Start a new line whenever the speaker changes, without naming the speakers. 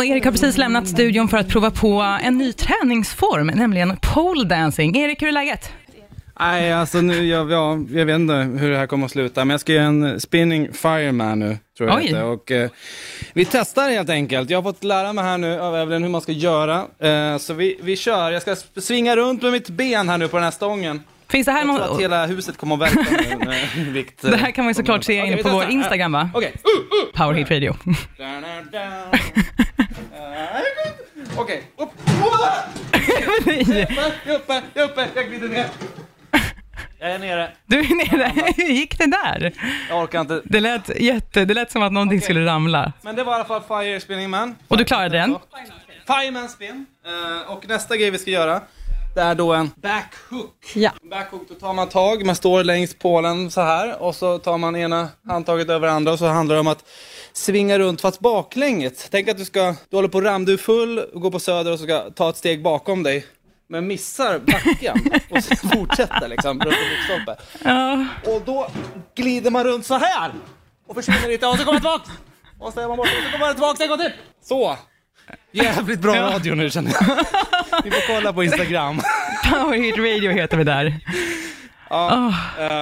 Och Erik har precis lämnat studion för att prova på en ny träningsform, nämligen pole dancing. Erik, hur är läget?
Nej, alltså nu, jag, ja, jag vet inte hur det här kommer att sluta, men jag ska göra en spinning fireman nu, tror jag
Oj.
heter. Och, eh, vi testar helt enkelt. Jag har fått lära mig här nu av Evelyn hur man ska göra. Eh, så vi, vi kör. Jag ska sp- svinga runt med mitt ben här nu på den här stången.
Finns det här
Jag tror att
någon...
hela huset kommer att verka nu. med vikt, eh,
Det här kan man ju såklart se
Okej,
inne
vi
på vår
testar.
Instagram va?
Okej. Uh!
Power Hit Radio.
Da, da, da. Eh, Okej, upp.
Nej,
Uppe, uppe, uppe. Jag glider ner. Jag är nere.
du är nere. Hur gick det där?
Jag orkar inte.
Det lät, jätte, det lät som att någonting skulle ramla.
Men det var i alla fall Fire Spinning Man.
Och du klarade den?
Fireman spin. Eh, och nästa grej vi ska göra, det är då en backhook.
Ja.
Backhook, då tar man tag, man står längs pålen så här och så tar man ena handtaget över andra och så handlar det om att svinga runt fast baklänges. Tänk att du ska, du håller på att ramla, du är full, och går på söder och så ska ta ett steg bakom dig. Men missar backen och så fortsätter liksom runt en lyktstolpe.
Ja.
Och då glider man runt så här och försvinner lite och så kommer man tillbaka. Och så är man borta och så kommer man tillbaka en gång till. Så. Jävligt bra radio nu känner jag. Vi får kolla på Instagram.
Power Hit Radio heter vi där.
Ja, eh,